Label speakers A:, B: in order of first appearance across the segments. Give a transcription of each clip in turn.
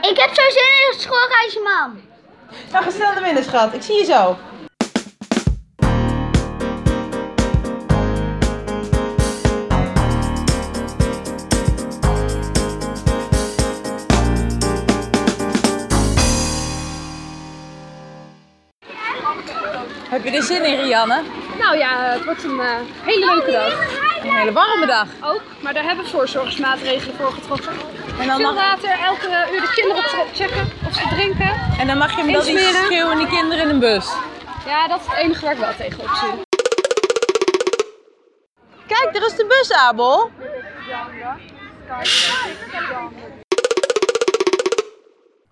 A: Ik heb zo zin in een schoolreisje, mam.
B: Nou, ga snel naar binnen, schat. Ik zie je zo. Heb je er zin in, Rianne?
C: Nou ja, het wordt een eh, hele leuke dag.
B: Een hele warme dag.
C: Ook, maar daar hebben we voorzorgsmaatregelen voor getroffen.
B: En dan,
C: Veel
B: mag,
C: water, elke eh, uur de kinderen op checken of ze drinken.
B: en dan mag je hem wel die
C: Insmeren.
B: schreeuwende kinderen in een bus.
C: Ja, dat is het enige waar ik wel tegen op zie.
B: Kijk, daar is de bus, Abel.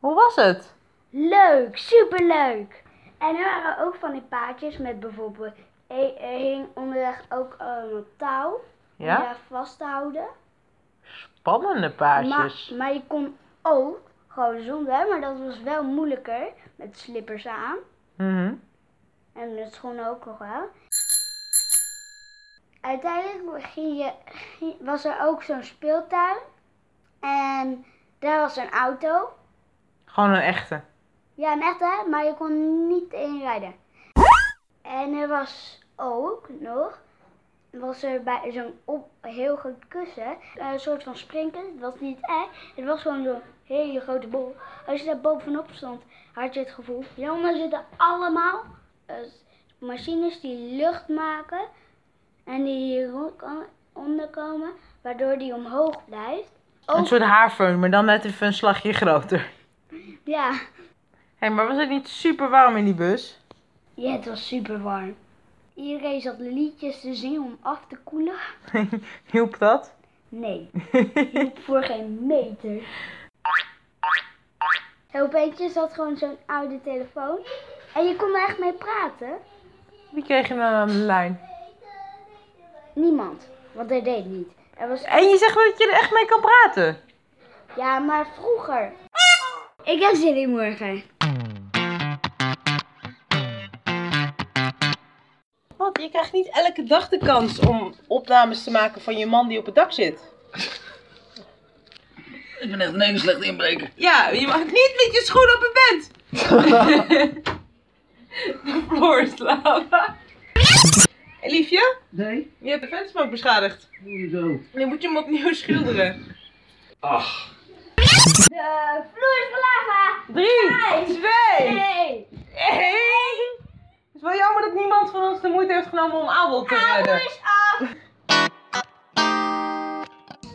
B: Hoe was het?
A: Leuk, superleuk. En er waren ook van die paadjes met bijvoorbeeld... Er er hing onderweg ook eh, een touw om daar vast te houden.
B: Spannende
A: Maar, maar je kon ook gewoon zonder, maar dat was wel moeilijker met slippers aan.
B: Mhm.
A: En de schoenen ook nog wel. Uiteindelijk ging je, ging- was er ook zo'n speeltuin. En daar was een auto.
B: Gewoon een echte.
A: Ja, een echte, maar je kon niet inrijden. En er was ook nog, was er bij zo'n op, heel groot kussen, een soort van sprinkel. Het was niet echt, het was gewoon zo'n hele grote bol. Als je daar bovenop stond, had je het gevoel, hieronder zitten allemaal eh, machines die lucht maken en die hieronder komen, waardoor die omhoog blijft.
B: Een
A: Ook,
B: soort haarfeun, maar dan net even een slagje groter.
A: ja.
B: Hé, maar was het niet super warm in die bus?
A: Ja, het was super warm. Iedereen zat liedjes te zingen om af te koelen.
B: Hielp dat?
A: Nee, hielp voor geen meter. En opeens zat gewoon zo'n oude telefoon. En je kon er echt mee praten.
B: Wie kreeg je dan aan de lijn?
A: Niemand, want hij deed niet. Er was...
B: En je zegt dat je er echt mee kan praten.
A: Ja, maar vroeger. Ik heb zin in morgen.
B: Want je krijgt niet elke dag de kans om opnames te maken van je man die op het dak zit.
D: Ik ben echt nergens slecht inbreken.
B: Ja, je mag niet met je schoen op het bed. de vloer is lava. Hey, Liefje,
D: Nee?
B: je hebt de vensterbank beschadigd.
D: Hoezo?
B: Nu moet je hem opnieuw schilderen.
D: Ach.
A: De Eh, vloer is lava!
B: Drie, twee,
A: Hey!
B: één. Het is wel jammer dat niemand van ons de moeite heeft genomen om Abel te redden.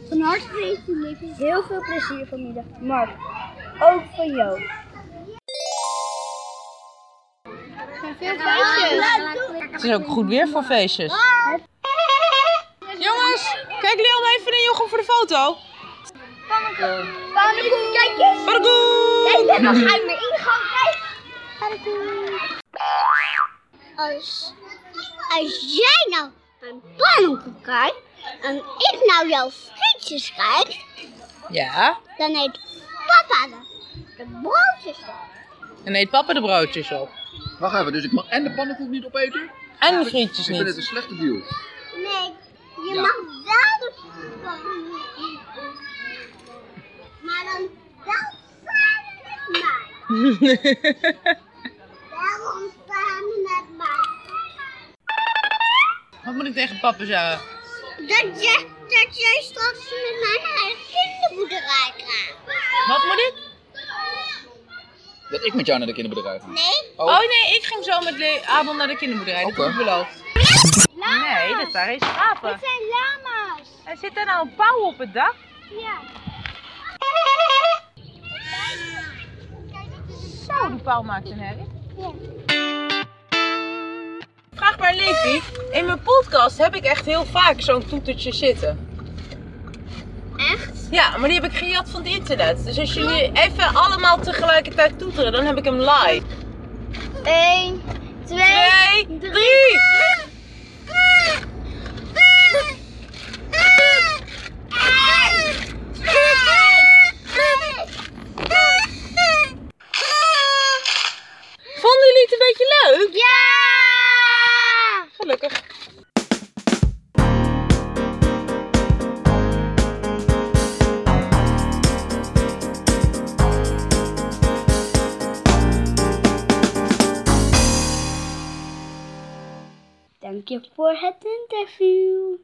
A: Van harte gefeliciteerd. Heel veel plezier vanmiddag. Mark, ook van jou. Veel feestjes.
B: Het is ook goed weer voor feestjes. Jongens, kijk Leon even naar Jochem voor de foto.
A: Pannenkoek, kijk eens.
B: Pargoe!
A: Ik ben nog uit mijn ingang. Kijk. Als, als jij nou mijn pannenkoek kijkt en ik nou jouw frietjes kijk,
B: Ja,
A: dan eet papa de, de broodjes op.
B: en eet papa de broodjes op.
D: Wacht even, dus ik mag en de pannenkoek niet opeten? Ik
B: En de frietjes
D: vind het een
B: niet.
D: slechte deal.
A: Nee, je
D: Ja.
A: mag wel de pannenkoek eten. Maar dan wel samen met mij. Daarom samen met mij.
B: Wat moet ik tegen papa zeggen?
A: Dat jij, dat jij straks met mij naar een kinderboerderij gaat.
B: Wat moet ik?
D: Dat ik met jou naar de kinderbedrijf ga.
A: Nee,
D: Oh.
B: Oh nee, ik ging zo met Le- Abel naar de kinderboerderij. Dat
D: Oké.
B: heb ik beloofd.
A: lama's.
B: waren eens apen.
A: zijn lama's.
B: Er zit daar nou een pauw op het dak?
A: Ja. Kijk, dit is een
B: Zo, Oh, die pauw maakt een herrie.
A: Ja.
B: Vraag maar Levi. In mijn podcast heb ik echt heel vaak zo'n toetertje zitten.
A: Echt?
B: Ja, maar die heb ik gejat van het internet. Dus als jullie even allemaal tegelijkertijd toeteren, dan heb ik hem live.
A: 1, 2,
B: Twee, drie! Vonden jullie het een beetje leuk?
A: Ja!
B: Gelukkig.
A: Dank je voor het interview.